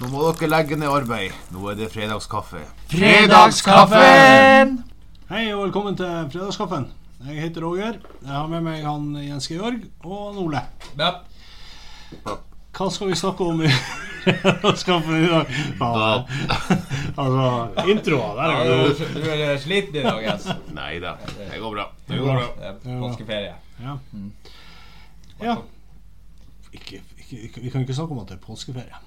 Nå må dere legge ned arbeid. Nå er det fredagskaffe. Fredagskaffen! Hei og velkommen til Fredagskaffen. Jeg heter Roger. Jeg har med meg han Jens Georg og Ole. Ja. Hva skal vi snakke om i Fredagskaffen i dag? Faen. Altså, introa der Ja, er Du jo du er sliten i dag, Jens. Nei da, det går bra. Det Det går bra. er eh, Påskeferie. Ja. ja. Ikke, ikke, ikke, vi kan ikke snakke om at det er påskeferie.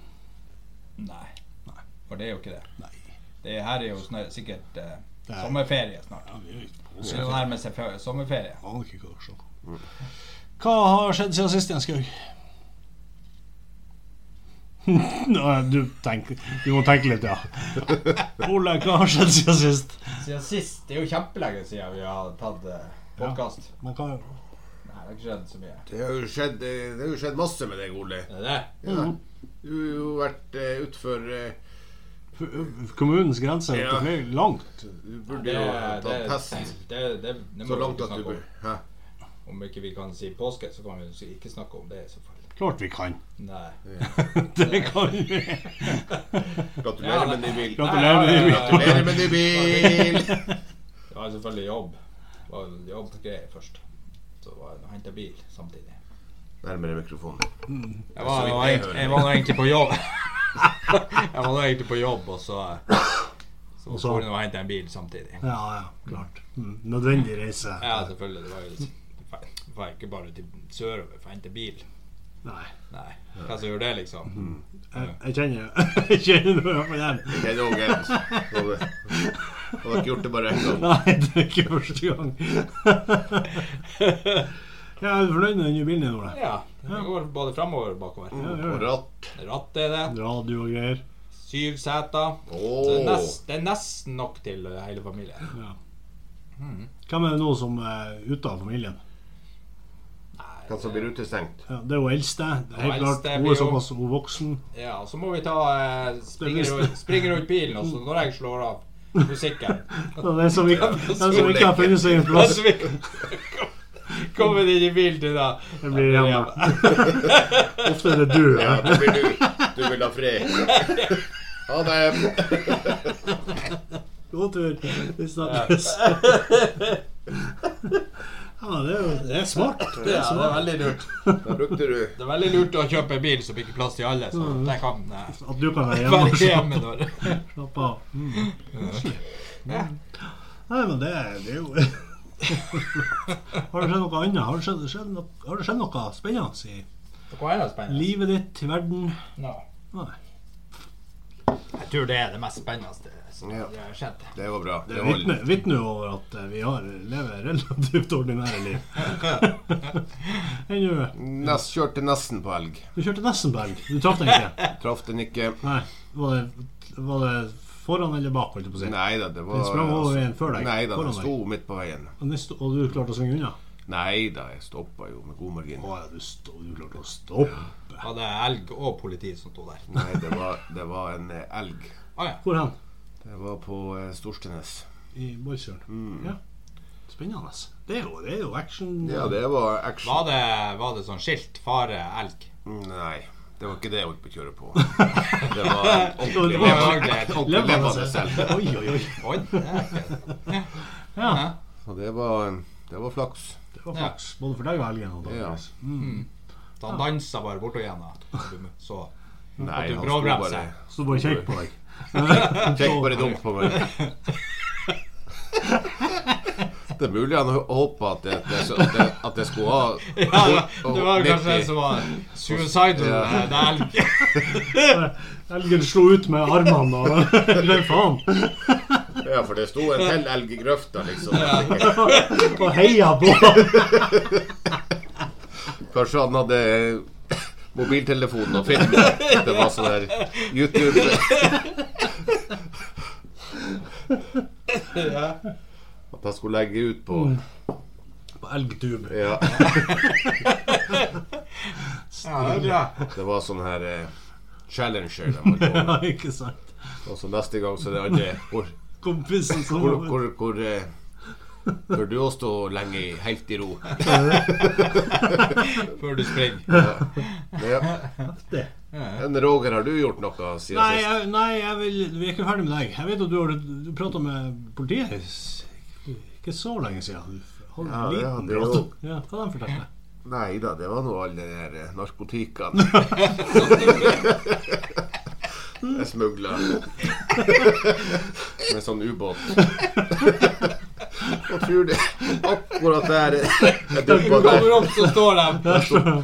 Nei. For det er jo ikke det. Nei. Det her er jo snar- sikkert eh, Det er- sommerferie snart. Ja, vi er jo ikke på Så det påskeferie. nærmer seg fe- sommerferie. Jeg aner ikke hva dere snakker om. Hva har skjedd siden sist, Jens Georg? Nei, du, tenker, du må tenke litt, ja. Ole, hva har skjedd siden sist? Siden sist Det er jo kjempelenge siden vi har tatt eh, podkast. Men hva, Nei, det har ikke skjedd så mye. Det har jo skjedd, det har jo skjedd masse med deg, Ole. Det er det. Ja. Du har jo vært uh, utfor eh, kommunens grense er Ja. ja. langt. Du burde Det, jo er- det, tatt test det, det, det, det må så vi langt ikke at du snakke bør om. Hæ? Om ikke vi kan si påske, så kan vi jo ikke snakke om det i så fall. Klart vi kan. Nei. Det kan vi. Gratulerer med ny bil. Gratulerer med din bil. Gratulerer med ny bil! Det var selvfølgelig jobb. Det var jo jobbgreier først. Så var jeg og henta bil samtidig. Nærmere mikrofonen. Jeg Så var, vidt nå jeg egentlig- hører. jeg var nå egentlig på jobb. jeg var nå egentlig på jobb, og så Så Og så- skulle jeg nå hente en bil samtidig. Ja, ja, klart. Mm, Nødvendig reise. Ja, selvfølgelig. Det var jo liksom- Det var ikke bare til sørover for å hente bil. Nei. Nei. Hva som gjør det, Mm. liksom? Jeg, jeg kjenner Jeg kjenner noe på den. Det er noe gærent. Hadde hadde ikke gjort det bare en gang. Nei, det er ikke første gang. Ja, er du fornøyd med den nye bilen din, Ole? Ja. Det går både framover og bakover. Ja, Og gjør det. ratt. Ratt er det. Radio og greier. Syv seter. Så Det er, Åh. nest, det er nesten nok til hele familien. Ja. Mm. Hvem er det nå som er ute av familien? Hva som blir utestengt. Ja, det er hun eldste. Det er helt Hun eldste klart. Hun er blir jo- såpass hun voksen. Ja, og så må vi ta eh, springe, Det er rundt, springe rundt bilen, og så når jeg slår av musikken Det er den som ikke, Ja, den som ikke har funnet seg en Da plass. svinger Kommer det inn i bilen til da. Det blir hjemme. Ofte er det du. Ja, Ja. det blir du. Du vil ha fred. Ha det. God tur. Vi snakkes. Ja, det er jo det er smart. Ja, det er veldig lurt. Da brukte du Det er veldig lurt å kjøpe en bil som ikke er plass til alle, så Mm. jeg kan eh, At du kan være hjemme og være hjemme når slappe av. Mm. Koselig. Ja. Nei, men det, det er jo Har det skjedd noe annet? Har det skjedd, skjedd noe, har det skjedd noe spennende i Hva er det spennende? livet ditt, i verden? Nå. Nei. Jeg tror det er det mest spennende som Ja. har skjedd. Det var bra. Det Det var vitner- vitner jo over at eh, vi har lever relativt ordinære liv. Enn du? Nest, kjørte nesten på elg. Du kjørte nesten på elg. Du traff den ikke? Traff den ikke. Nei. Var det, var det foran eller bak, holdt jeg på å si? Nei da, det var Den sprang over veien før deg, Nei da, foran den deg. sto midt på veien. Og den sto- Og du klarte å svinge unna? Nei da, jeg stoppa jo med god margin. Å ja, du, sto, du klarte å stoppe. Var det elg og politi som sto der? Nei, det var, det var en eh, elg. Å ja. Hvor hen? Det var på eh, Storstenes. I Balsfjorden? Ja. Spennende. altså. Det er jo, det er jo action. Ja, Mm. det var action. Mm, Var det, var det sånn skilt 'fare elg'? Nei, det var ikke det jeg holdt på å kjøre på. Det var en ordentlig Det Det var- var levende- greit. ordentlig Levende levende selv. selv. Oi, oi, oi. Oi, det er ikke- Ja, Og det var, en- det var flaks. det var flaks. Både for deg og altså. elgen. Ja. Og Douglas. Så han dansa bare bortover igjen. da. Så Nei, du han sto bråbremser. bare Så bare kjekk på deg. Kjekk bare dunk på meg. Det er mulig han håpa at jeg- at jeg at jeg skulle ha Ja, det var 90. kanskje den som var suicidal Ja. eh, det er elg. Elgen slo ut med armene og Nei, faen. Ja, for det sto en til elg i grøfta, liksom. Og heia på. Kanskje han hadde eh, mobiltelefonen og film. Det var sånn her YouTube At han skulle legge ut på Mm. På elgtube. Ja, Ja, det er bra. det var sånn her eh, Challenger. De holdt på Ja, med. ikke sant. og så neste gang så er det andre hvor, Kompisen som hvor, hvor, hvor eh, Bør du òg stå lenge i- helt i ro? Før du springer. Ja. heftig. Men Roger, har du gjort noe siden Nei, sist? jeg, nei jeg vil, vi er ikke ferdig med deg. Jeg vet at du har du prata med politiet s- ikke så lenge siden. Du Ja, hadde en ja, liten det er prat. jo- Ja, hva de fortalte Nei da, det var nå all den der eh, narkotikan. Jeg smugla med sånn ubåt. Og tror det akkurat der Jeg duppa der. Kommer opp, så står de.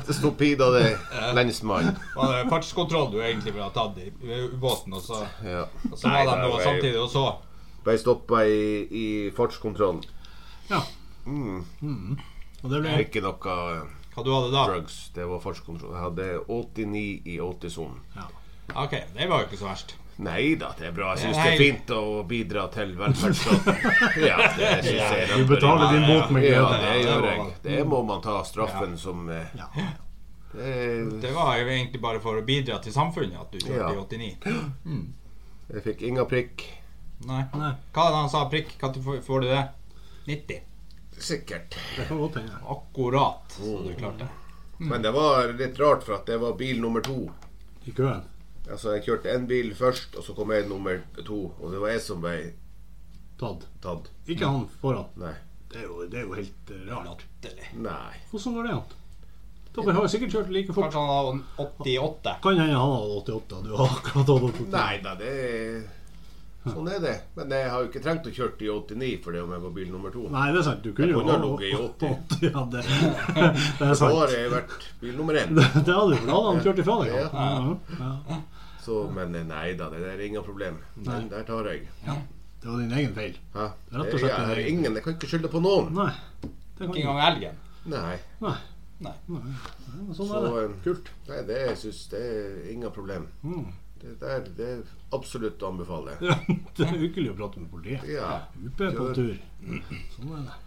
Det sto pida det lensmann. Og det er fartskontroll du egentlig ville ha tatt i i ubåten, og så, Ja. og så var de Nei, noe nei, nei. samtidig, og så Ble stoppa i, i fartskontrollen. Ja. Mm. Mm. Og det ble Ikke noe eh, Hva du hadde da? drugs. Det var fartskontroll. Jeg hadde 89 i 80-sonen. ja. Ok, det var jo ikke så verst. Nei da, det er bra. Jeg syns det Nei. er fint å bidra til velferdsstaten. Ja, det synes jeg er Du betaler din Ja, ja, ja. båt med Ja, glede. det Ja, det gjør må jeg. man. Det må man ta straffen som eh, Ja. det, er- Det var jo egentlig bare for å bidra til samfunnet at du kjørte Ja. i 89. Jeg fikk inga prikk. Nei. Nei, Hva er det han sa, prikk? Hva til- får- får du det? 90. Sikkert. det kan godt hende. Akkurat, så Mm. du klarte det. Men det var litt rart, for at det var bil nummer to. I køen. Altså, jeg kjørte én bil først, og så kom jeg nummer to. Og det var jeg som ble Tatt. tatt. Ikke han foran. Nei. Det er jo, det er jo helt eh, rart. Latterlig. Nei. Hvordan går det an? Dere har jo sikkert kjørt like fort. Kanskje han har 88. Kan hende han hadde 88, og du har akkurat hatt 88. Nei da, det er Sånn er det. Men jeg har jo ikke trengt å kjøre i 89 for det om jeg var bil nummer to. Nei, det er sant. Du kunne Jeg jo kunne ha ligget i 88. Ja, det, det er Da sant. har jeg vært bil nummer én. Det hadde du, for da hadde han kjørt ifra deg. Ja. Ja. Så, men eh, nei da, det er inga problem. Den der tar jeg. Det var din egen feil. Hæ? Rett og Det slett er en- ingen, jeg kan ikke skylde på noen. Nei. Det kan Ikke ikke. engang elgen. Nei. Nei. Nei. Nei, Sånn Så er det. eh, kult. Nei, det jeg synes det er inga problem. Det der det er absolutt å anbefale. Ja, Det er hyggelig å prate med politiet. Ja. UP på Kjør. tur. Sånn er det.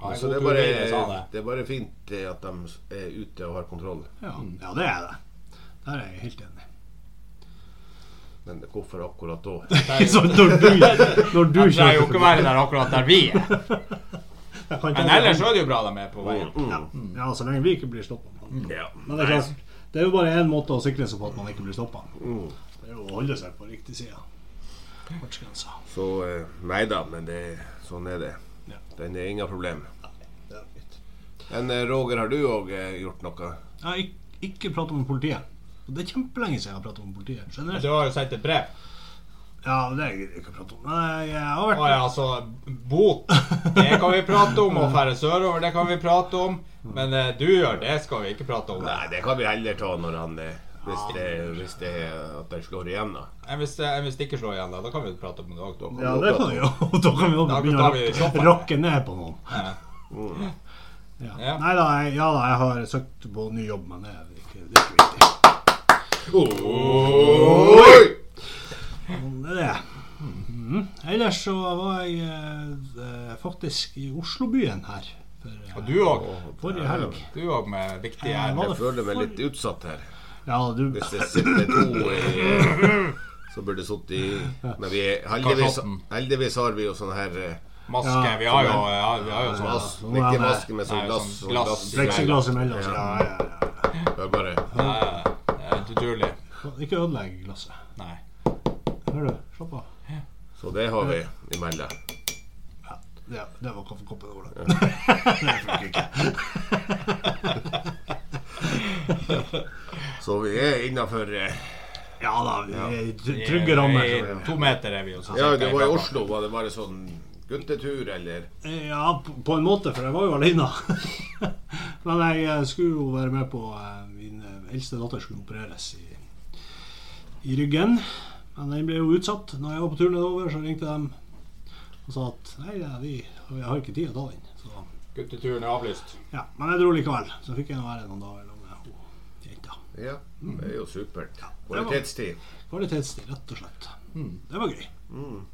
Ha en Så Altså, god det er tur bare, videre, sa han det. det er bare fint eh, at de er ute og har kontroll. Ja, ja det er det. Der er jeg helt enig. Men hvorfor akkurat da? Så sånn når du, når du Jeg trenger jo kjører ikke være der akkurat der vi er. Jeg kan ikke- Men ellers så er det jo bra de er på veien. ja. ja, så lenge vi ikke blir stoppa. Mm. Ja. Men det er klart, det er jo bare én måte å sikre seg på at man ikke blir stoppa. Mm. Det er jo å holde seg på riktig side. Fartsgrensa. Så eh, nei da, men det, sånn er det. Ja. Den er inga problem. Det er fint. Men eh, Roger, har du òg gjort noe? Jeg har ik- ikke prata med politiet. Og det er kjempelenge siden jeg har prata med politiet. Skjønner Du du? har jo sendt et brev. Ja, det gidder jeg ikke å prate om. Nei, jeg har Å vært ja, altså Bot. Det kan vi prate om. Og færre sørover, det kan vi prate om. Men eh, du gjør det, skal vi ikke prate om. Nei, det kan vi heller ta når han eh, Hvis det, hvis det er at den slår igjen, da. Eh, Hvis, eh, hvis det ikke slår igjen, da, da kan vi prate om det òg. Da kan Ja, vi det prate kan vi jo. Da kan vi jo Da- begynne å da blir vi rakke, shoppere. rakke ned på noen. Ja. Ja. Nei da, jeg, ja, da, jeg har søkt på ny jobb, men det er ikke, det er ikke viktig. Oi! Men Det Sånn er det. Mhm. Ellers så var jeg eh, eh, faktisk i Oslobyen her for, eh, Og du òg. forrige helg. Du òg med viktige Ja, ærend. hva- Jeg føler meg litt utsatt her. Ja, du Hvis det sitter to i Så burde det sittet i Men vi er, heldigvis, Kartotten. heldigvis har vi jo sånn her eh, Maske. Ja, Vi har jo, ja, vi har jo sånn glass. sånn er Ikke det. maske, men sånn Nei, glass. sånn Sånn glass. glass. Plexiglass imellom. så Ja, ja, ja. Det er bare eh, eh, Helt utrolig. Ikke ødelegg glasset. Nei. Hører du? Slapp av. Så det har vi imellom. Ja, det var kaffekoppen. Ola. Så vi er eh, innafor Ja da, vi er i trygge rammer. Vi- så- To meter er vi jo. så Ja, cirka det var i gata. Oslo. Var det bare sånn guttetur, eller? Ja, på- på en måte, for jeg var jo alene. Men jeg eh, skulle jo være med på eh, Min eh, eldste datter skulle opereres i, i ryggen. Men den ble jo utsatt. Når jeg var på tur nedover, så ringte de og sa at nei, ja, vi, vi har ikke tid å ta den. Så, Gutteturen er avlyst. ja. Men jeg dro likevel. Så fikk jeg nå være noen dager sammen med hun jenta. Ja. Mm. Det er jo supert. var- Kvalitetstid. Kvalitetstid, rett og slett. Mm. Det var gøy.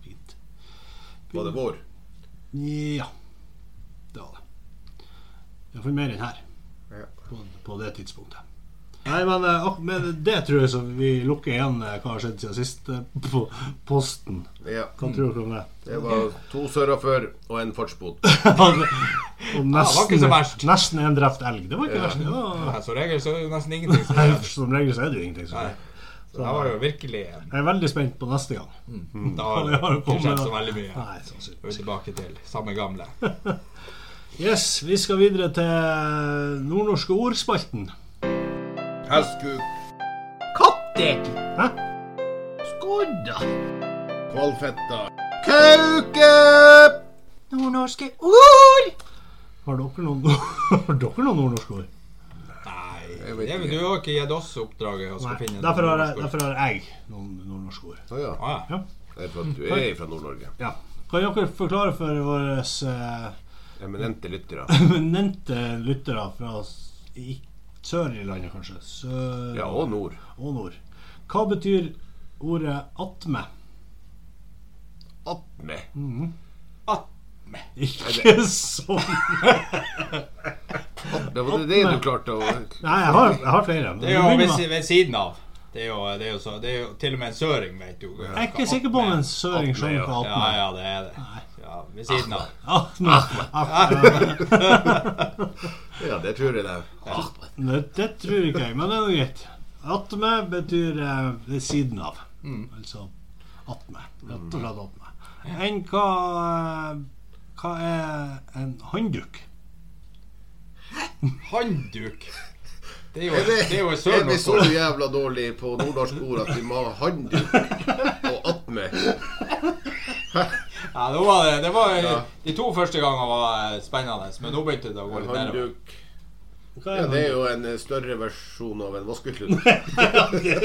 Fint. Var det vår? Ja, det var det. Iallfall mer enn her. Ja. på, på det tidspunktet. Nei, men, eh, ak- men det tror jeg så vi lukker igjen eh, hva har skjedd siden sist eh, på posten. Ja. Hva Mm. tror dere om det? Det var to sørafør og en fartsbot. Og var ikke så verst. Altså, nesten en drept elg. Det var ikke verst. Det var, Nei, Som regel så er det nesten ingenting som Nei, skjer. som regel så er det jo ingenting som Nei. skjer. Så det var jo virkelig en Jeg er veldig spent på neste gang. Da har Mm. Ja, det det ikke kommer, skjedd da. så veldig mye. Nei, sånn sannsynligvis. Vi er tilbake til samme gamle. Yes, vi skal videre til eh, nordnorske ordspalten. Hestkuk, Kattek. Hæ? Skodda. kvalfetta, kauke! Nordnorske ord. Har dere noen, har dere noen nordnorske ord? Nei, Jeg vet det, ikke. du har ikke gitt oss oppdraget Nei. å skulle finne en Derfor har, jeg, nordnorsk ord. derfor har jeg noen nordnorske ord. Å ja. Ah, ja. Ja. Det er for at du er fra Nord-Norge. ja. Kan dere forklare for våre eh, Eminente lyttere. eminente lyttere fra s- i, sør i landet, kanskje? Sør Ja, og nord. og nord. Hva betyr ordet atme? Atme. Ikke sånn Det var det du klarte å Nei, jeg har, jeg har flere. men Det er jo vi begynner ved, med- si- ved siden av. Det er, jo, det, er jo så, det er jo til og med en søring, vet du. Jeg er ikke sikker på om en søring skjønner hva Ja, atme er. ja, det er det. Ja, ved siden av. Atme. Atme. Ja, det tror jeg det. Nei, det tror ikke jeg, men det er noe greit. Atme betyr eh, ved siden av. Mm. Altså atme. Rett og slett atme. Enn hva eh, Hva er en håndduk? Handduk. Det er jo, det- det er jo en Er vi sørnorsk så ord. jævla dårlige på nordnorsk ord at vi må ha handduk og atme? Ja, det var det. det var, De to første gangene var eh, spennende, men nå begynte det å gå litt nedover. Handduk Hva ja, er Det er en håndduk? jo en eh, større versjon av en vaskeklut.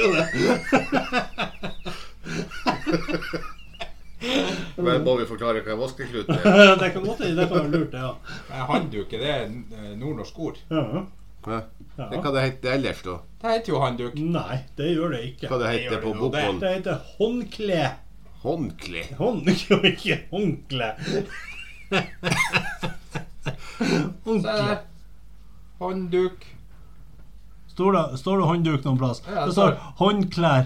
Men må vi forklare hva en vaskeklut er? det kan godt hende det kan være lurt, det, ja. Men Handduk, det er eh, nordnorsk ord. ja. Hæ? Ja. Det, hva det heter ellers, da? Det heter jo handduk. Nei, det gjør det ikke. Hva det heter på gjør det jo, det- bokmål? Det heter håndkle. Håndkle. Hånd, jo ikke håndkle. Så Håndkle. er det Handduk. Står det, står det håndduk noen plass? Ja, det det står står. håndklær.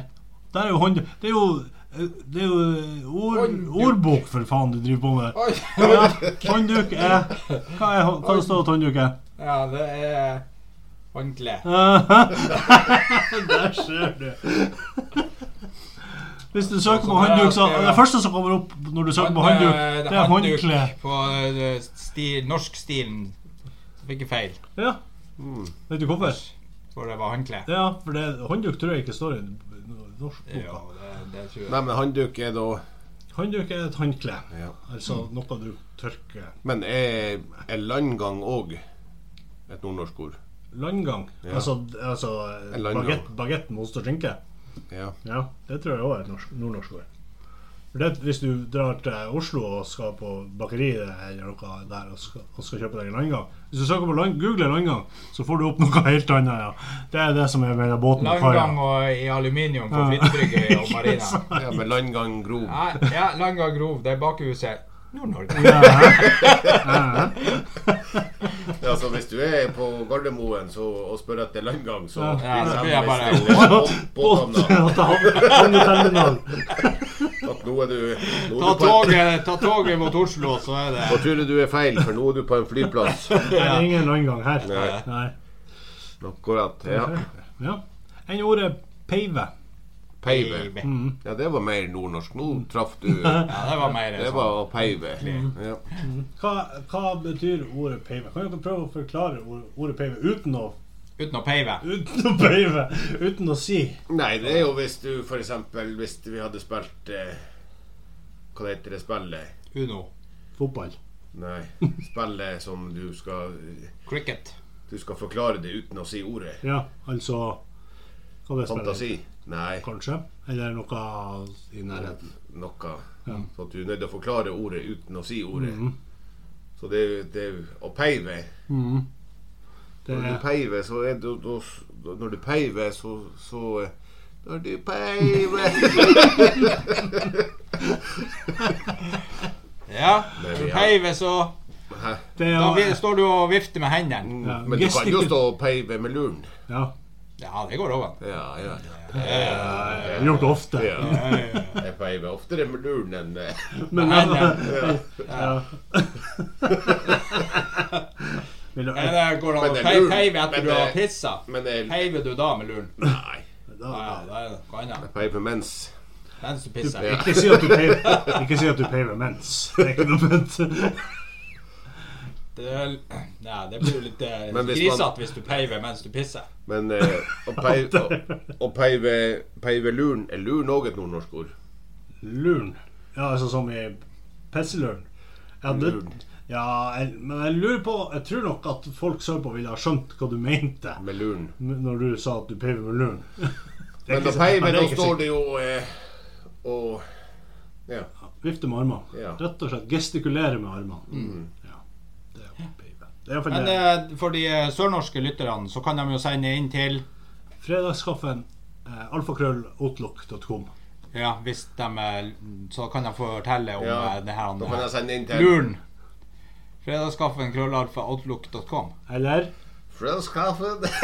Der er jo håndduk Det er jo, det er jo ord, Håndduk. ordbok, for faen, du driver på med. Oi! Ja, håndduk er Hva, er, hå- hva står det at håndduk er? Ja, det er håndkle. Der ser du. Hvis du søker på sånn er håndduk, så det, ja. Det første som kommer opp når du søker på Han- håndduk, eh, det er håndkle. På eh, sti- norskstilen så fikk jeg feil, Ja. Mm. Vet du hvorfor? for det var håndkle. Ja, for det, håndduk tror jeg ikke står i norskboka. Ja, det, det tror jeg. Nei, men handduk er da Håndduk er et håndkle, Ja. altså Mm. noe du tørker. Men er, er landgang òg et nordnorsk ord? Landgang. Ja. Altså, altså En landgang. bagett, bagett med ost og skinke. Ja. Ja, det tror jeg òg er et norsk- nordnorsk ord. For Det, hvis du drar til Oslo og skal på bakeri eller noe der og skal, og skal kjøpe deg en landgang Hvis du søker på land, Google landgang, så får du opp noe helt annet. Ja. Det er det som er mellom båten og Landgang kaia. og i aluminium på Flintbrygge og Marina. ja men landgang grov. Nei, ja, Landgang Grov, det er bakhuset. Nord-Norge. Ja, så hvis du er på Gardermoen så, og spør etter landgang, så Ja, vil så de blir jeg bare- bestille båt- Båt båthavna. og ta havneterminal. At nå er du, nå er du på, Ta en, toget, ta toget mot Oslo, så er nå det tror jeg du er feil, for nå er du på en flyplass. Det er ingen landgang her. Nei. Nei. Akkurat. Ja. Ja. Enn ordet peive? Peive. Ja, det var mer nordnorsk. Nå Mm. traff du Det Mm. Ja, det var mer sånn. var å peive. Ja. Hva, hva betyr ordet peive? Kan dere prøve å forklare ord- ordet peive uten å, Uten å peive. uten å peive? Uten å si? Nei, det er jo hvis du f.eks. Hvis vi hadde spilt eh, Hva det heter det spillet? Uno. Fotball. Nei, spillet som du skal Cricket. Du skal forklare det uten å si ordet. Ja, altså Hva det spiller? Fantasi? Nei, Kanskje? Eller noe i nærheten. noe. Mm. Så at du er nødt til å forklare ordet uten å si ordet. Mm. Så det, er- det er å peive. Mm. Det Når du er, peiver, så er det da, da, Når du peiver, så, så eh, Når du peiver Ja. Nei, Du vi har- peiver, så Hæ? det Da vi- er står du og vifter med hendene. Ja, Men du kan jo gestiku- stå og peive med luren. ja, Ja, det går over. Ja, ja. Jeg har gjort det ofte. ja. Ja, ja, ja. Jeg peiver oftere med luren enn eh, Men Nei, nei. ja. ja. Vil du- Eller går det Men an det å er lurt. peive etter Men du har det- pissa? Men eh, jeg Peiver du da med luren? Nei. da- Ja, ja, det er noe annet. Jeg peiver mens. Mens du pisser. Ja. Ikke si at du paver, ikke si at du paver mens. Det er ikke noe pent. Det, er- ja, det blir jo litt eh, Men hvis man- grisete hvis du peiver mens du pisser. Men eh, å peive, å, å peive, peive luren Er luren òg et nordnorsk ord? Lurn. Ja, altså som i pisselurn. Ja, det, Lurn. ja, jeg, men jeg lurer på Jeg tror nok at folk sørpå ville ha skjønt hva du mente Med luren. når du sa at du paver med lurn. Det er Men ikke å så- peive, Nei, det da er ikke står sikkert. det jo eh, og Ja. Vifte med armene. Ja. Mm. Rett og slett gestikulere med armene. Ja, det er å peive. Det er iallfall Men det. eh, for de eh, sørnorske lytterne, så kan de jo sende inn til Fredagskaffen, eh, alfakrølloutlook.com. Ja, hvis de eh, Så kan de få fortelle om Ja, eh, det her Da kan jeg eh, sende inn til luren. Fredagskaffen krøllalfa outlook.com. Eller Fredagskaffen.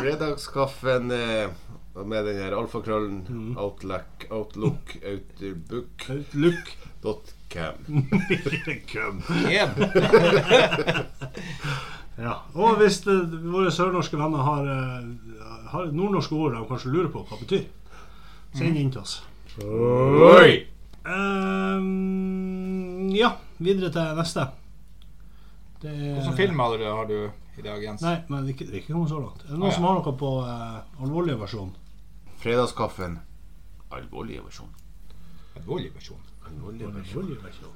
Fredagskaffen eh, og med den her alfakrøllen outlook, outlook, outlook, outlook. dot cam. eh, Køm. Igjen. Ja. Og hvis eh, våre sørnorske venner har, eh, har nordnorske ord de kanskje lurer på hva det betyr, send inn til oss. Oi! Ehm, ja, videre til neste. Det er- Hvilken film har du, har du i dag, Jens? Nei, men ikke, det er ikke kommet så langt. Er det Ah, noen ja. som har noe på eh, alvorlige versjon? Fredagskaffen. Alvorlig versjon. En dårlig versjon. Alvorlig Alvorlige versjon.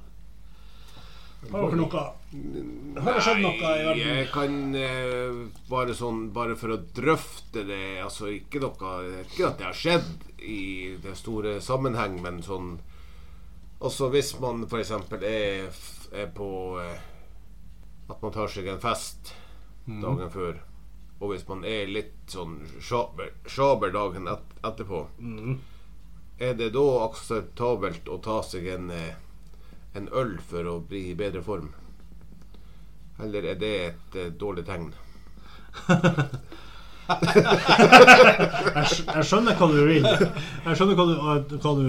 Har dere noe? Har det skjedd noe i Nei, verden? jeg kan eh, bare sånn Bare for å drøfte det Altså ikke noe Ikke at det har skjedd i det store sammenheng, men sånn Altså hvis man f.eks. Er, f- er på eh, At man tar seg en fest Mm. dagen før, og hvis man er litt sånn sjaber, sjaber dagen et, etterpå, Mm. er det da akseptabelt å ta seg en eh, en øl for å bli i bedre form? Eller er det et eh, dårlig tegn? Jeg, skj- jeg skjønner hva du vil. Jeg skjønner hva du, hva du,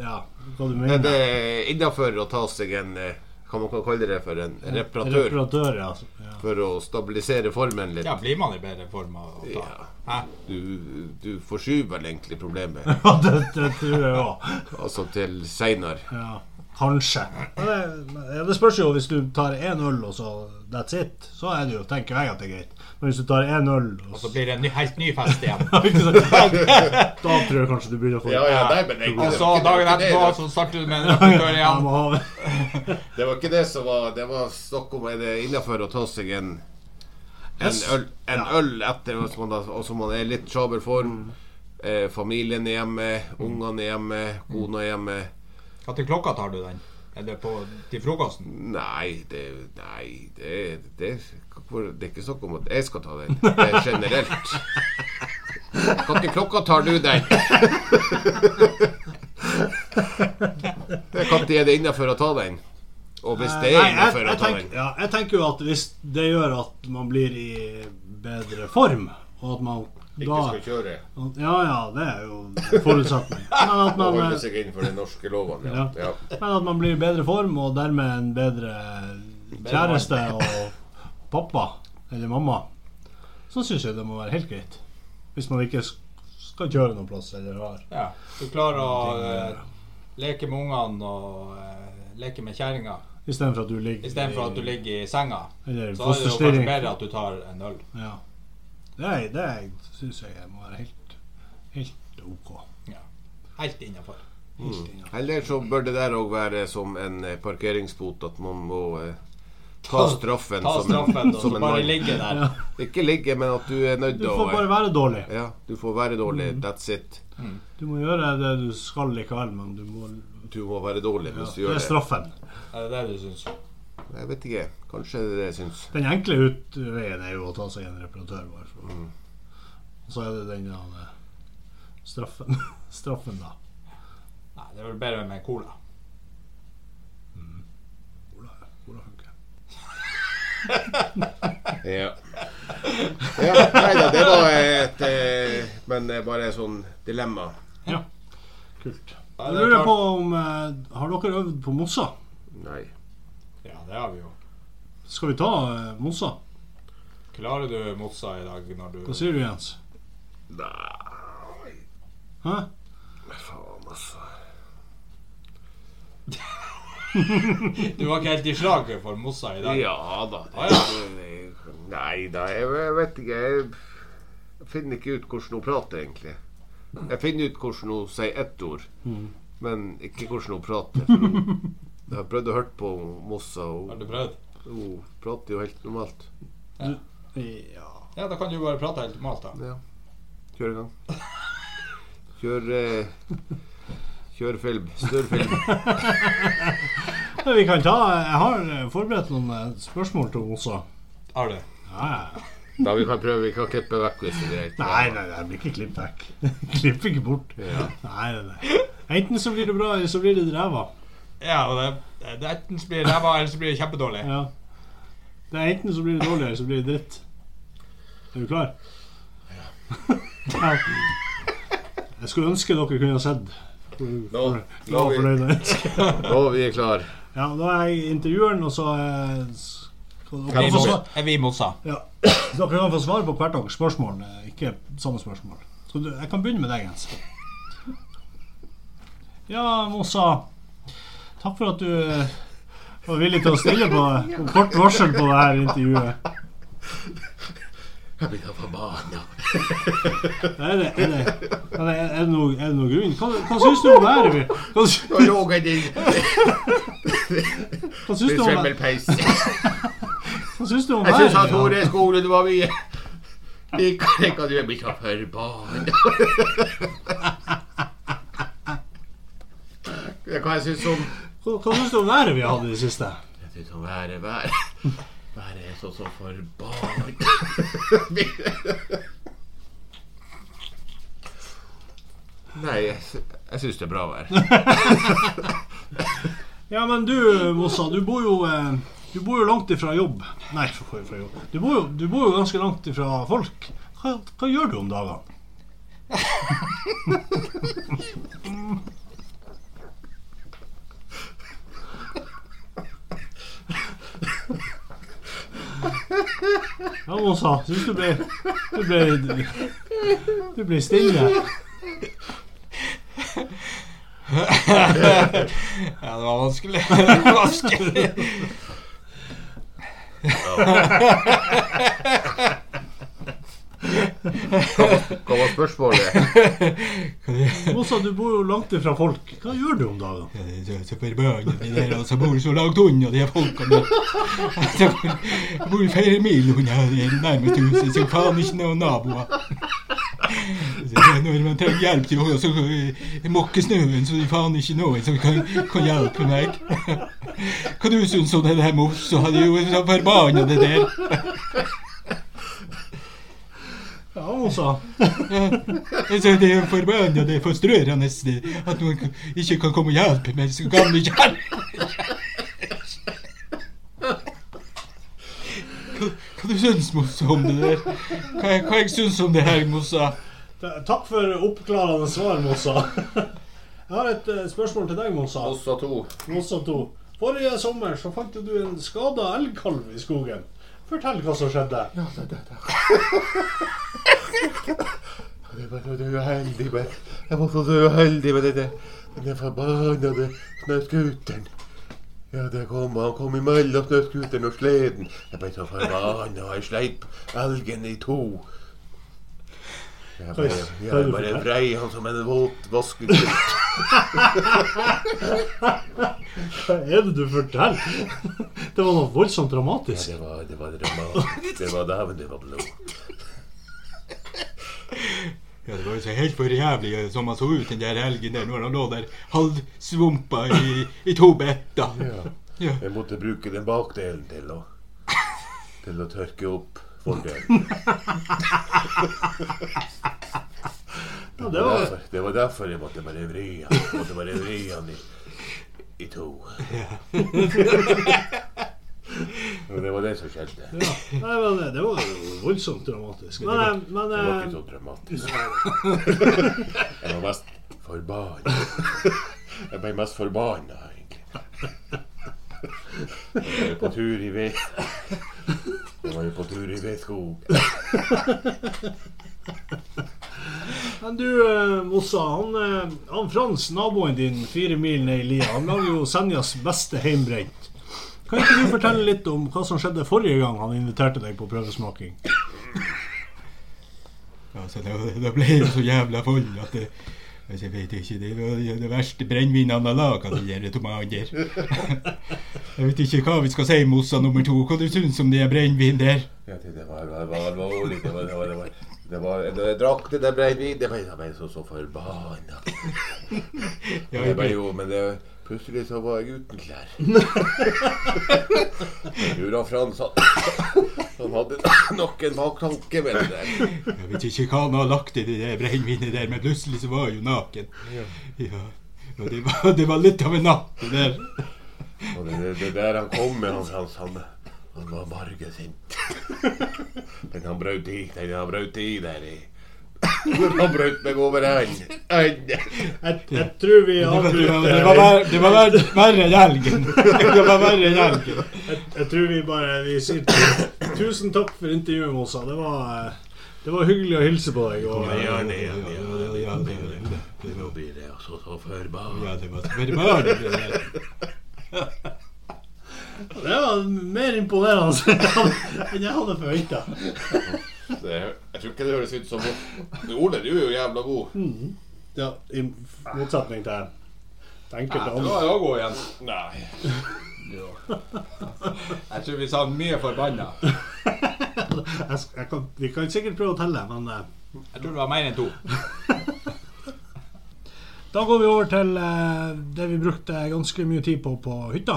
ja, hva Er du mener. det innafor eh, å ta seg en eh, Hva man kan kalle det for en reparatør? Reparatør, ja. ja. For å stabilisere formen litt? Ja, blir man i bedre form av å ta? Ja. Hæ? Du, du forskyver vel egentlig problemet, Ja, det, det tror jeg òg. altså til seinere. Ja, kanskje. Men det, men det spørs jo hvis du tar én øl, og så that's it. Så er det jo, tenker jeg at det er greit. Men hvis du tar én øl, og Så så blir det en ny, helt ny fest igjen. Ikke sant? Da tror jeg kanskje du begynner å få Ja, ja, nei, men Og egentlig, det, så var Altså, dagen ikke det, etterpå altså. det, så starter du med en rapportør Ja, igjen. må ha det var ikke det som var Det var snakk om er det innafor å ta seg en en øl, en øl etter hvis man, da- og så man er litt sjaber Mm. form. Eh, familien er hjemme, ungene er hjemme, kona er hjemme. Hva til klokka tar du den? Er det på, til frokosten? Nei, det, nei det, det, hvor- det er ikke snakk om at jeg skal ta den. Det er generelt. Hvilken klokka tar du den? Når er det innafor å ta den? Og hvis det er Nei, jeg, innafor å jeg, ta tenker, den ja, jeg tenker jo at hvis det gjør at man blir i bedre form, og at man da kjøre. Ja ja, det er jo en forutsetning. Men eh, at Og man, holde seg innenfor de norske lovene. Ja. Ja. men at man blir i bedre form, og dermed en bedre kjæreste og pappa eller mamma, så syns jeg det må være helt greit. Hvis man ikke sk- skal kjøre noen plass eller har Ja. Du klarer å eh, leke med ungene og eh, leke med kjerringa Istedenfor at du ligger istedenfor at du ligger i senga. Eller Så er det jo kanskje fosterstilling. bedre at du tar en øl. Ja. Det, er- det syns jeg må være helt, helt OK. Helt innafor. Helt innafor. Eller så bør det der òg være som en eh, parkeringsbot, at man må eh, ta straffen Ta som straffen en, og så som en bare mann. ligge der. Ikke ligge, men at du er nødt Du til å eh, får bare være dårlig. Ja, du får være dårlig. Mm. That's it. Du må gjøre det du skal likevel, men du må Du må være dårlig ja, hvis du Det gjør er det. straffen. Er det det du syns? Jeg vet ikke. Kanskje det er det jeg syns. Den enkle utveien er jo å ta seg en reparatør, i hvert fall. Og så er det den der eh, straffen. straffen, da. Nei, det er vel bedre med en cola. Ola, Ola funker. Ja. ja. Nei da, det var et eh, men det er bare sånn dilemma. Ja. Kult. Ja, Jeg det er lurer klart. på om eh, Har dere øvd på Mossa? Nei. Ja, det har vi jo. Skal vi ta eh, Mossa? Klarer du Mossa i dag når du Hva sier du, Jens? Nei, Hæ? faen, altså. Du var ikke helt i slaget for Mossa i dag? Ja da. Ah, det- Nei da, jeg, jeg vet ikke. Jeg finner ikke ut hvordan hun prater, egentlig. Jeg finner ut hvordan hun sier ett ord, Mm. men ikke hvordan hun prater. for hun- Jeg har prøvd å høre på Mossa, og Har hun, du prøvd? hun prater Oh, jo helt normalt. Ja. Ja, da kan du jo bare prate helt normalt, da. Ja. Kjør i gang. Kjør eh, Kjør film. Snurr film. Men Vi kan ta Jeg har eh, forberedt noen eh, spørsmål til Mossa. Har du? Ja, ja. Da vi kan prøve. Vi kan klippe vekk hvis det er greit. Nei, nei, nei, det blir ikke klipp vekk. Klipp ikke bort. Nei, nei, nei. Enten så blir det bra, eller så blir det ræva. Ja, og det, det enten så blir det ræva, eller så blir det kjempedårlig. Ja. Det er enten så blir det dårlig, eller så blir det dritt. Er du klar? Ja. Jeg skulle ønske dere kunne ha sett. Nå, nå, Ja, er vi, fornøyde. nå er vi klar Ja, da er jeg intervjueren, og så eh, skal Er dere vi få Mossa? svar. Er vi Mossa? Ja. Dere kan få svar på hvert deres spørsmål, eh, ikke samme spørsmål. Så du, jeg kan begynne med deg, Jens. Ja, Mossa. Takk for at du eh, var villig til å stille på, på kort varsel på det her intervjuet. Jeg blir da forbanna. Er det, er det, er det, er det, noe, er det noe grunn? Hva, hva syns du om været? vi- Hva, sy- Nå lå jeg i hva syns du om, hva svømmelpeis. syns du om Jeg syns at været? Tore Skoglund var mye likere enn hva du er blitt så forbanna. Hva jeg syns om Hva, hva syns du om været vi har hatt i det siste? Jeg syns om været vær. Været er så så forbanna. Nei, jeg, sy- jeg syns det er bra vær. Ja, men du, Mossa, du bor jo eh, Du bor jo langt ifra jobb. Nei, for hvor ifra jobb? Du bor jo, du bor jo ganske langt ifra folk. Hva, hva gjør du om dagene? Ja, Mossa, syns du ble Du ble, du ble stille. Ja, det var vanskelig. Det var vanskelig. Hva var spørsmålet? Mossa, du bor jo langt ifra folk. Hva gjør du om dagene? Så forbanna de der altså, bor så langt unna, de folkene. Altså, bor flere mil unna det nærmeste huset, så faen ikke noen naboer. Så Når man trenger hjelp til å så, eh, mokke snøen, så det er faen ikke noen som kan, kan hjelpe meg. Hva du syns om det der, Mos? Så hadde jo så forbanna det der. Ja, Mossa. Altså, det er forbanna, det er frustrerende det, at noen kan- ikke kan komme og hjelpe meg, så gamle kjerring. Hva- Hva du syns Mossa, om det der? Hva, jeg- hva jeg syns om det her, Mossa? Ta- Takk for oppklarende svar, Mossa. Jeg har et eh, spørsmål til deg, Mossa. Også to. Mossa 2. Forrige sommer så fant jo du en skada elgkalv i skogen. Fortell hva som skjedde. Jeg var så uheldig med Jeg var så uheldig med denne, denne forbannede snøscooteren. Ja, det kom, han kom imellom snøscooteren og sleden. Jeg ble så forbanna, jeg sleip elgen i to. Jeg bare, jeg bare vrei han som en våt vaskeklut. Hva er det du forteller? Det var noe voldsomt dramatisk. Det var, det var dramatisk. Det var dæven, det var blod. Ja, Det var jo så helt for jævlig eh, som han så ut den der helgen der, når han lå der halvsvumpa i, i to better. Ja. Jeg måtte bruke den bakdelen til å, til å tørke opp fordelen. Ja, Det det var var derfor, det var derfor jeg måtte bare vri han, jeg måtte bare vri han i, i to. Men det var det som skjedde. Det Ja. Nei, men eh, det, det var jo voldsomt dramatisk. Men, eh, men var eh, ikke så dramatisk. Jeg var mest forbanna. Jeg ble mest forbanna, egentlig. Jeg var jo på tur i ved... Jeg var jo på tur i vedskog. Men du, eh, Mossa, han, eh, han Frans, naboen din, fire mil ned i lia, han lager jo Senjas beste heimbrent. Kan ikke du fortelle litt om hva som skjedde forrige gang han inviterte deg på prøvesmaking? Altså, da, da ble jeg så jævla full at det, altså, jeg vet ikke, det var jo det verste brennevinet han har laga, de der tomater. jeg vet ikke hva vi skal si, Mossa nummer to. Hva du syns om det brennevinet der? Ja, det det var det var alvorlig. Det var, det var, det var, det var, det var, jeg drakk det der brennevin. Det var, jeg ble så, så forbanna. Ja, Jeg jeg ble ble, jo, men det, plutselig så var jeg uten klær. Jeg tror han Frans han, han hadde nok en baktanke med det der. jeg vet ikke hva han har lagt i det der brennevinet der, men plutselig så var jeg jo naken. Ja. Og det var, det var litt av en natt, det der. Og det, det, det der han kom med, han Frans, han, han var marge sint. Men han brøt i, den han brøt i der i. Han brøt meg over enden. Jeg, jeg tror vi Det var, det var, det avbryter var, verre- det var verre, verre enn helgen. Det var verre enn helgen. jeg, jeg tror vi bare vi sier tu- tusen takk for intervjuet, Mossa. Det var, eh, det var hyggelig å hilse på deg. Og, Ja, Ja, det- ja, ja, ja, det var det. Det Nå var- blir jeg altså så forbanna. Ja, det var det var verre. det der. det var mer imponerende enn jeg hadde forventa. Det, jeg tror ikke det høres ut som Men Ole, du er jo jævla god. Ja, I motsetning til enkelte Nå andre. er jeg god igjen. Nei. Jeg tror vi sa mye forbanna. Jeg, sk- jeg kan, vi kan sikkert prøve å telle, men eh, Jeg tror det var mer enn to. Da går vi over til eh, det vi brukte ganske mye tid på på hytta.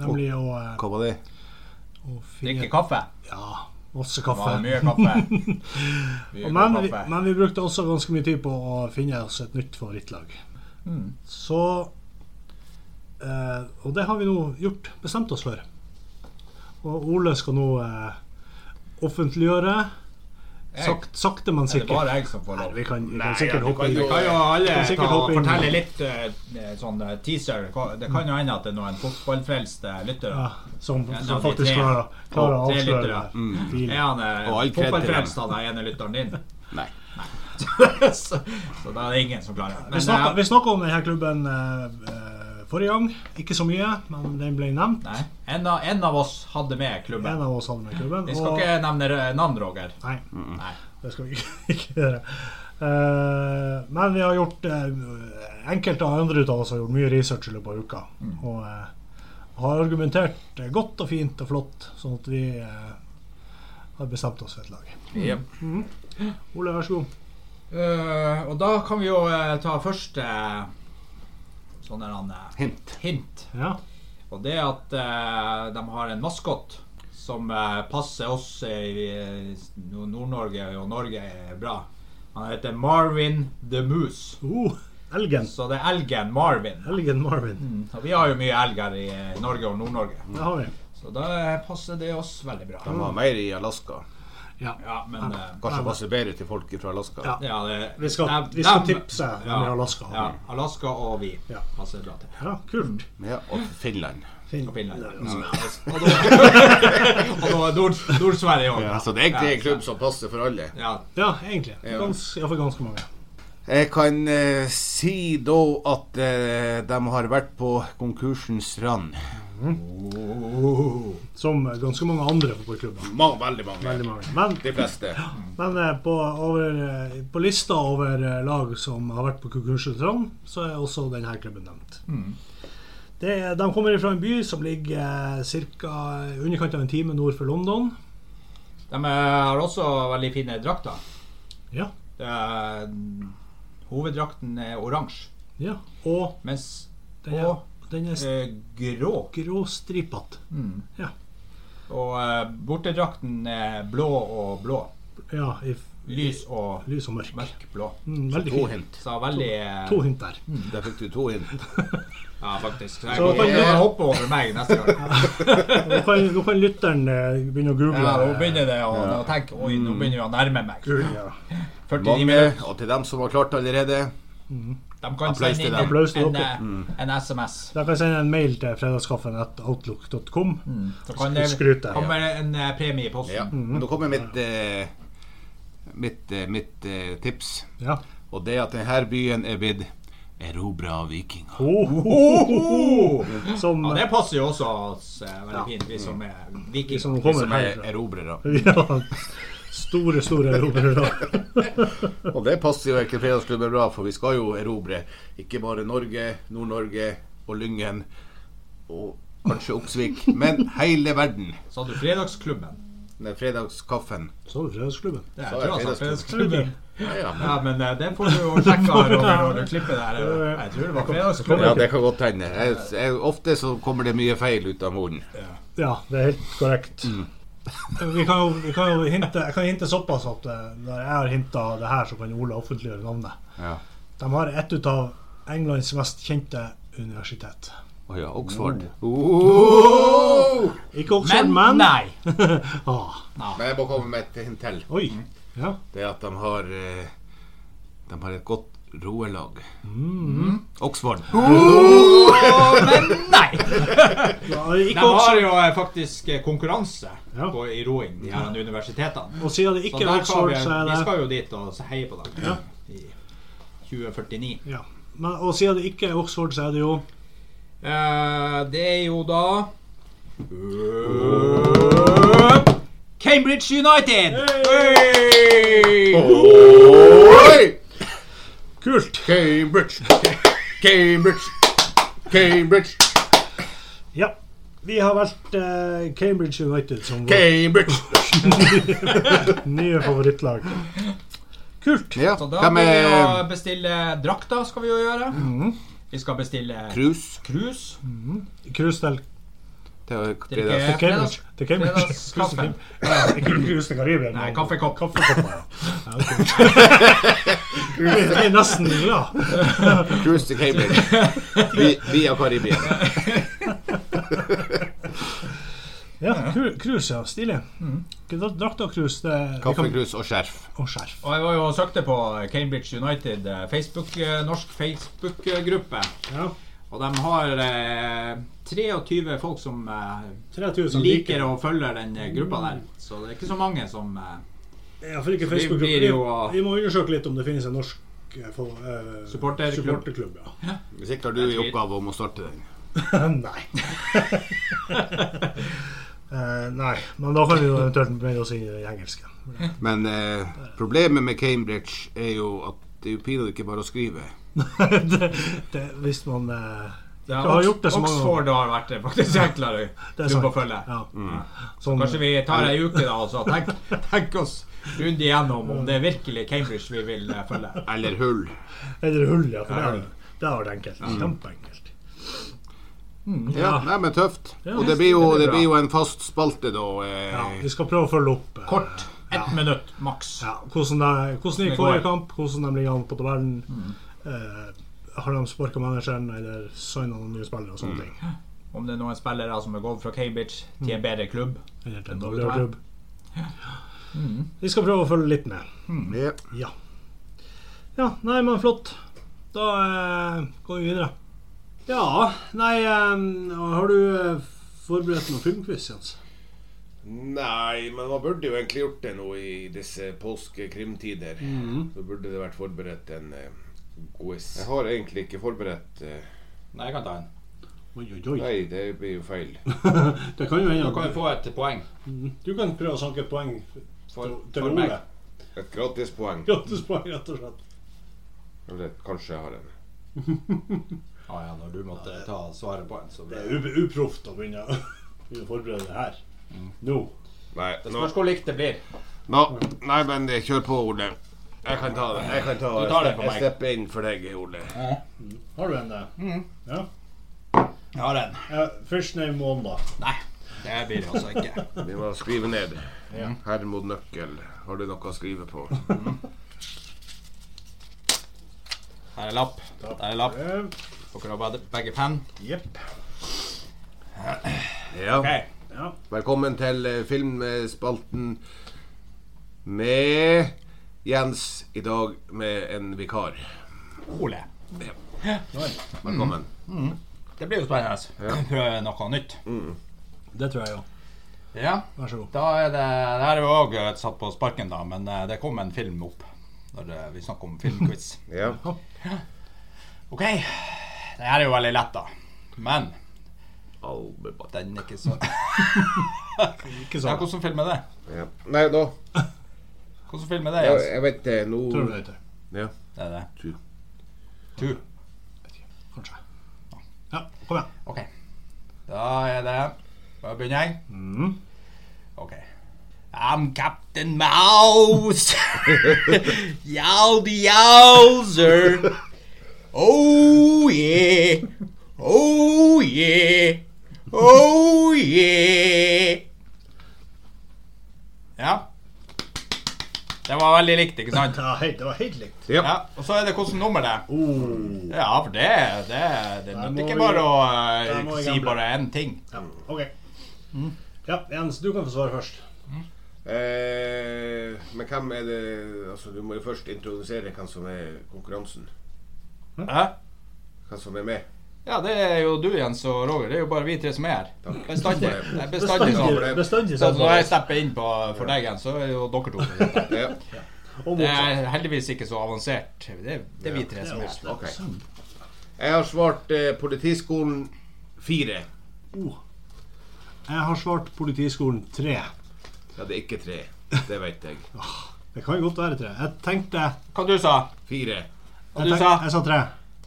Nemlig å, eh, Hva var det? å finne Drikke kaffe. Ja, masse Det var kaffe. mye kaffe. Og Mye men, god vi, kaffe. men vi brukte også ganske mye tid på å finne oss et nytt favorittlag. Mm. Så eh, Og det har vi nå gjort. Bestemt oss for. Og Ole skal nå eh, offentliggjøre. Jeg? Sakt, sakte, men Er det sikkert. bare jeg som får lov? Vi kan, vi Nei, kan sikkert ja, du hoppe kan i Vi kan jo alle Kan sikkert ta og hoppe inn. fortelle litt eh, sånn eh, teaser. Det kan jo hende at det er noen fotballfrelste lyttere. Ja, som, Ja, som da har vi faktisk tre. klarer, klarer å Tre avsløre lyttere. det. Fil. Er han eh, Og all kred til dem. fotballfrelst, han er ene lytteren din? Nei. så, så da er det ingen som klarer det. eh, Vi snakka- Vi snakka om denne klubben eh, eh, forrige gang. Ikke så mye, men den ble nevnt. Nei. En, av, en av oss hadde med En klubben. av oss hadde med klubben. Vi skal ikke nevne eh, navn, Roger. Nei, Nei. det skal vi ikke, ikke gjøre. Eh, men vi har gjort eh, Enkelte av andre ut av oss har gjort mye research i løpet av uka. Og eh, har argumentert eh, godt og fint og flott, sånn at vi eh, har bestemt oss for et lag. Jep. Ole, vær så god. Eh, og da kan vi jo eh, ta første uh, sånn der, eh, hint. Ja. Og det er at eh, de har en maskot som eh, passer oss i eh, Nord-Norge og Norge eh, bra. Han heter Marvin the Moose. Uh, elgen. Så det er elgen Marvin. Elgen Marvin. Mm, Og vi har jo mye elger i eh, Norge og Nord-Norge, Det har vi. så da eh, passer det oss veldig bra. De var mer i Alaska. Ja, men eh, Kanskje passer bedre til folk fra Alaska. Ja. ja, det, Vi skal, dem- vi skal dem- tipse dem i Alaska. Ja, Mm. Alaska og vi Ja. passer bra til. Ja, kult. Ja, og Finland. Og Finn. Finland. Og da, og da Nord- Nord-Sverige òg. Så Altså, det er egentlig en klubb som passer for alle. Ja, Ja, egentlig. Gans, ja, for ganske mange. Jeg kan eh, si da at eh, de har vært på konkursens rand. Som ganske mange andre fotballklubber. Ma veldig mange. Veldig mange. Men, De fleste. men eh, på, over, eh, på lista over eh, lag som har vært på konkursetrand, så er også denne klubben nevnt. Det, er- de kommer fra en by som ligger eh, cirka underkant av en time nord for London. De eh, har også veldig fine drakter. Ja. Det er- Hoveddrakten er oransje, ja. Og mens den er, Og? den er eh, grå gråstripete. Mm. Ja. og eh, bortedrakten er blå og blå. ja, i f- Lys og Lys og mørk. mørkblå. Mm, veldig To fint. hint. Så veldig eh, To hint der. Der fikk du to hint. Ja, faktisk. Så jeg Så kan kan jeg du- kan hoppe over meg neste gang. Nå kan, nå kan lytteren eh, begynne å google. Ja, nå begynner det å å tenke Oi, nå begynner vi å nærme meg. Google, ja. 49 Mange, minutter. og til dem som har klart allerede. De kan Applaus sende til inn dem. en, Applaus til en, dere. eh, en SMS. Da kan jeg sende en mail til fredagskaffen at outlook.com. Så kan det Skryt der. kommer en eh, premie i posten. Ja. Men Mm. nå kommer mitt, eh, mitt, eh, mitt eh, tips. Ja. Og det er at denne byen er blitt erobra av vikinger. Oh, Som Ja, det passer jo også oss eh, veldig fint, vi som er de som vikinger. kommer Som er herfra. erobrere. Ja. Store, store romerere. Og det passer jo egentlig fredagsklubben bra, for vi skal jo erobre ikke bare Norge, Nord-Norge og Lyngen og kanskje Oppsvik, men hele verden. Sa du Fredagsklubben? Den fredagskaffen. Så er det Fredagsklubben. Det Sa er, jeg tror jeg sa Fredagsklubben? Fredagsklubben. Ja, ja, men- Ja, men eh, det får du jo sjekke her over når du klipper det her. eh. Jeg tror det var Fredagsklubben. ja, det kan godt hende. Jeg, jeg, ofte så kommer det mye feil ut av munnen. Ja, det er helt korrekt. Vi kan jo, vi kan jo hinte, jeg kan hinte såpass at eh, når jeg har hinta det her, så kan Ola offentliggjøre navnet. Ja. De har et ut av Englands mest kjente universitet. Å ja, Oxford. Oh! Ikke Oxford, Men men, nei! Ah, Men jeg må komme med et hint til. Oi. Ja. Det er at de har eh, De har et godt roelag. Mm. Oxford. Å, men nei! ja De ikke Oxford. har jo eh, faktisk eh, konkurranse Ja. på, i roing, de her universitetene. Og siden det Så ikke er der Oxford, skal vi, så vi er det skal jo dit og heie på dem i 2049. ja. Men, Og siden det ikke er Oxford, så er det jo Eh, det er jo da Øh, Cambridge United! Hey! Oi! Kult! Cambridge. Cambridge. Cambridge. Ja. Vi har valgt eh, Cambridge United som vårt Cambridge. nye favorittlag. Kult! Ja, Så da hvem må vi jo er bestille drakter, skal vi jo gjøre. Mhm. Vi skal bestille Krus krus. Krus til til Drikke- fredags? Cambridge. Til Cambridge. Krus til Fredagskaffe. Cambridge. Ja, ikke krus til Karibia. Nei, men- kaffekopp. Kaffekopper, ja. Ja, ok. Jeg er nesten glad. Cruise til Cambridge. Vi- Via Karibia. Ja, kru- krus, ja. Stilig. Mm. Drakt og krus, det vi kan- Kaffekrus og skjerf. Og skjerf. Og jeg var jo og søkte på Cambridge United eh, Facebook, eh, norsk Facebook-gruppe. Ja. Og de har eh, 23 folk som eh, 3000 liker og følger den eh, gruppa der. Så det er ikke så mange som eh, Ja, for ikke Så vi Facebook blir vi, jo- vi må undersøke litt om det finnes en norsk eh, for, eh, Supporterklubb. supporterklubb, ja. Hvis ikke har du i oppgave om å starte den. nei. Eh, nei, men da kan vi jo eventuelt melde oss inn i det engelske. Men eh, problemet med Cambridge er jo at det er jo pinadø ikke bare å skrive. det, det, hvis man eh, det Du har gjort det så mange Oxford har vært det faktisk enklere Det er klubb å sant. følge. Mm. Ja. Sånn, Kanskje vi tar ei uke da og så tenk, tenk oss rundt igjennom om det er virkelig Cambridge vi vil eh, følge. Eller hull. Eller hull, ja. For det, er, det har vært enkelt. Kjempeenkelt. Ja, nei, men tøft. Ja, Og det blir jo, det blir det bra. blir jo en fast spalte, da. Ja, Eh, vi skal prøve å følge opp eh, Kort. Ett minutt maks. Ja, hvordan, det, hvordan Det gikk går. Mm. forrige kamp, hvordan de ligger an på tabellen. Eh, har de sparka manageren eller signa noen nye spillere og Mm. sånne ting. Om det er noen spillere som har gått fra Cambridge til en bedre klubb. Eller til Det en må vi dårligere ta. Mm. klubb. Vi skal prøve å følge litt med. ja. Ja. Ja, nei, men flott. Da eh, går vi videre. Ja, nei eh, Har du eh, forberedt noen filmquiz, Jens? Nei, men man burde jo egentlig gjort det nå i disse påskekrimtider. Så burde det vært forberedt en eh, quiz. Mhm. Jeg har egentlig ikke forberedt eh, Nei, jeg kan ta en. Oi, oi, oi. Nei, det blir jo feil. Det kan jo hende få et poeng at du kan prøve å sanke et poeng til Ole. Et gratispoeng. Gratispoeng, rett og slett. Eller kanskje jeg har en. Ja, ja, når du måtte ta svaret på en, sånn. så Det er u- uproft å begynne å begynne å forberede det her. Mm. Nå. Nei, nå, Spørs hvor likt det blir. nå- nei men eh, kjør på, Ole. Jeg kan ta det. Jeg kan ta Du tar det for Jeg meg. stepper inn for deg, Ole. Har du en? eh? Ja. Jeg har en. ja first name Wanda. Nei, det blir det altså ikke. Vi må skrive ned. Ja. Hermod Nøkkel. Har du noe å skrive på? Her er lapp. Der er lapp. Dere har begge- begge penn. Jepp. Ja. Ja. Velkommen til eh, filmspalten med Jens. I dag med en vikar. Ole. Velkommen. Det blir jo spennende. Prøve noe nytt. Det tror jeg jo. Ja. Vær så god. Da er det, det her er jo òg satt på sparken, da, men eh, det kom en film opp når eh, vi snakker om filmquiz. Ja. OK. Det her er jo veldig lett, da. Men Albebatt. den er ikke så ja, Ikke sånn. Hvordan film er det? Ja. Nei, da Hvordan film er det? Jeg, Jens? jeg vet det nå Tror du det heter? ja. Det er det. Tur. Tur. Kanskje. Ja, kom igjen. OK. Da er det Da begynner jeg. Mm. OK. I'm Captain Mouse. Yowdy yowzer. Oh yeah. Oh yeah. Oh yeah. Ja. Det var veldig likt, ikke sant? Det var helt, det var helt likt. Ja. Ja, og så er det hvordan nummer det er. Ja, for det, det, det Der nytter må ikke vi- bare å der må eh, vi si gamble. bare én ting. Ja, OK. Ja, Jens, du kan få svare først. Eh, men hvem er det Altså, du må jo først introdusere hvem som er konkurransen. Hæ? Hvem som er med. Ja, det er jo du, Jens og Roger. Det er jo bare vi tre som er her. Takk. Bestandig. Det er bestandig sånn. Bestandig. Bestandig Så sånn. når jeg stepper inn på, for deg, Jens, så er det jo dere to. Ja. Og Det motsatt. er heldigvis ikke så avansert. Det er, det er vi tre som er her. Ok. Jeg har svart eh, Politiskolen fire. Oh. Jeg har svart Politiskolen 3. Ja, det er ikke tre. Det vet jeg. Det kan jo godt være 3. Jeg tenkte Hva du sa Fire. Hva jeg du? tenk- sa? Jeg sa 3.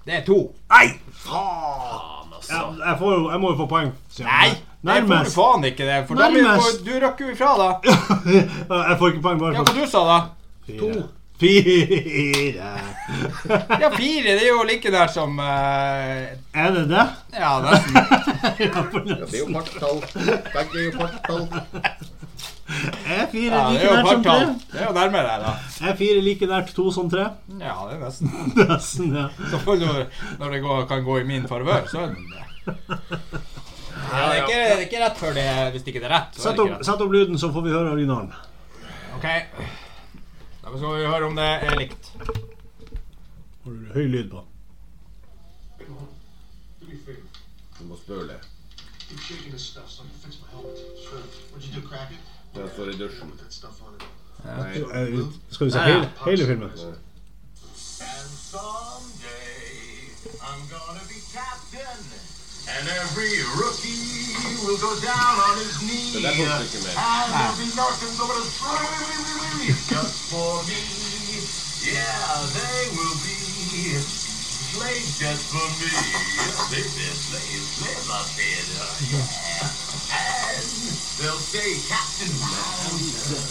Det er to. Faen, altså. Jeg, jeg, får, jo- jeg må jo få poeng. siden Nei! jeg- Det får du Nærmest. faen ikke, det. For da blir du, Nærmest. du røkker jo ifra, da. jeg får ikke poeng bare Ja, for hva du sa da? to. Fire. Ja, fire. Det er jo like nær som eh, Er det det? Ja, nesten. Ja, det er jo partall. Begge er jo partall. Er fire Ja, det like er jo nært som partall. tre? Det er jo nærmere deg, da. Er fire like nært to som tre? Ja, det er nesten. Nesten, ja. Så når, når det går, kan gå i min favør, så er det det. Ja, det, er ikke, det er ikke rett før det Hvis ikke det er rett, så er Sett det opp, ikke rett. sett opp lyden, så får vi høre originalen. Ok. Da skal vi høre om det er likt. Har du høy lyd på? Du må spørre. Keep shaking this stuff so I can fix my helmet. Sure. What'd you do, crack it? Den står i dusjen. Put that stuff on it. Nei. Eh, Skal vi se hele, hele filmen? And someday I'm gonna be captain. And every rookie will go down on his knee. Det der holdt du ikke med. And there'll be nothing but a three just for me. Yeah, they will be slaves just for me. They've been slaves, slaves up here. Yeah. And they'll say Captain Rouser,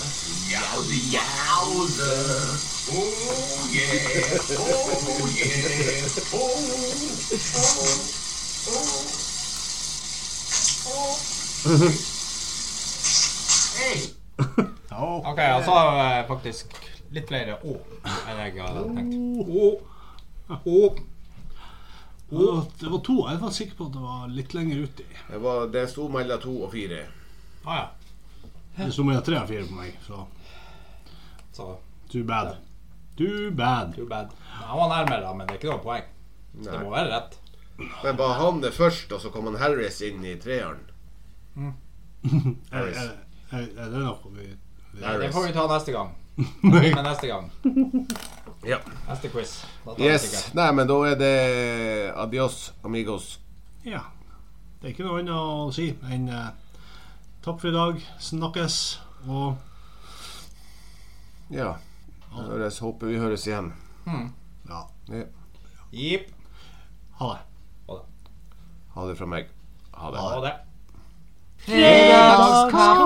Yowzy Yowzer. Oh yeah, oh yeah, oh, oh, oh. Hey. Ok, jeg sa eh, faktisk litt flere å enn jeg hadde tenkt. Å. Å. Å, Det var to. Jeg var sikker på at det var litt lenger uti. Det, var, det sto mellom to og fire. Ah, ja. Det sto mellom tre og fire på meg, så Så too bad. Too bad. too bad. Jeg var nærmere, da, men det er ikke noe poeng. Det må være rett. Men var han det først, og så kom han Harris inn i treeren? Mm. Er, er, er, er det noe vi Nei, det får vi ta neste gang. Nei. Men neste gang. Ja. Neste quiz. Da tar vi sikkert. Yes. Nei, men da er det adios, amigos. Ja. Det er ikke noe annet å si enn eh, takk for i dag, snakkes, og Ja. Da høres, håper vi høres igjen. ja, Ja. Jepp. ha det. Ha det fra meg. Ha det. Ha det. Fredagskaffe!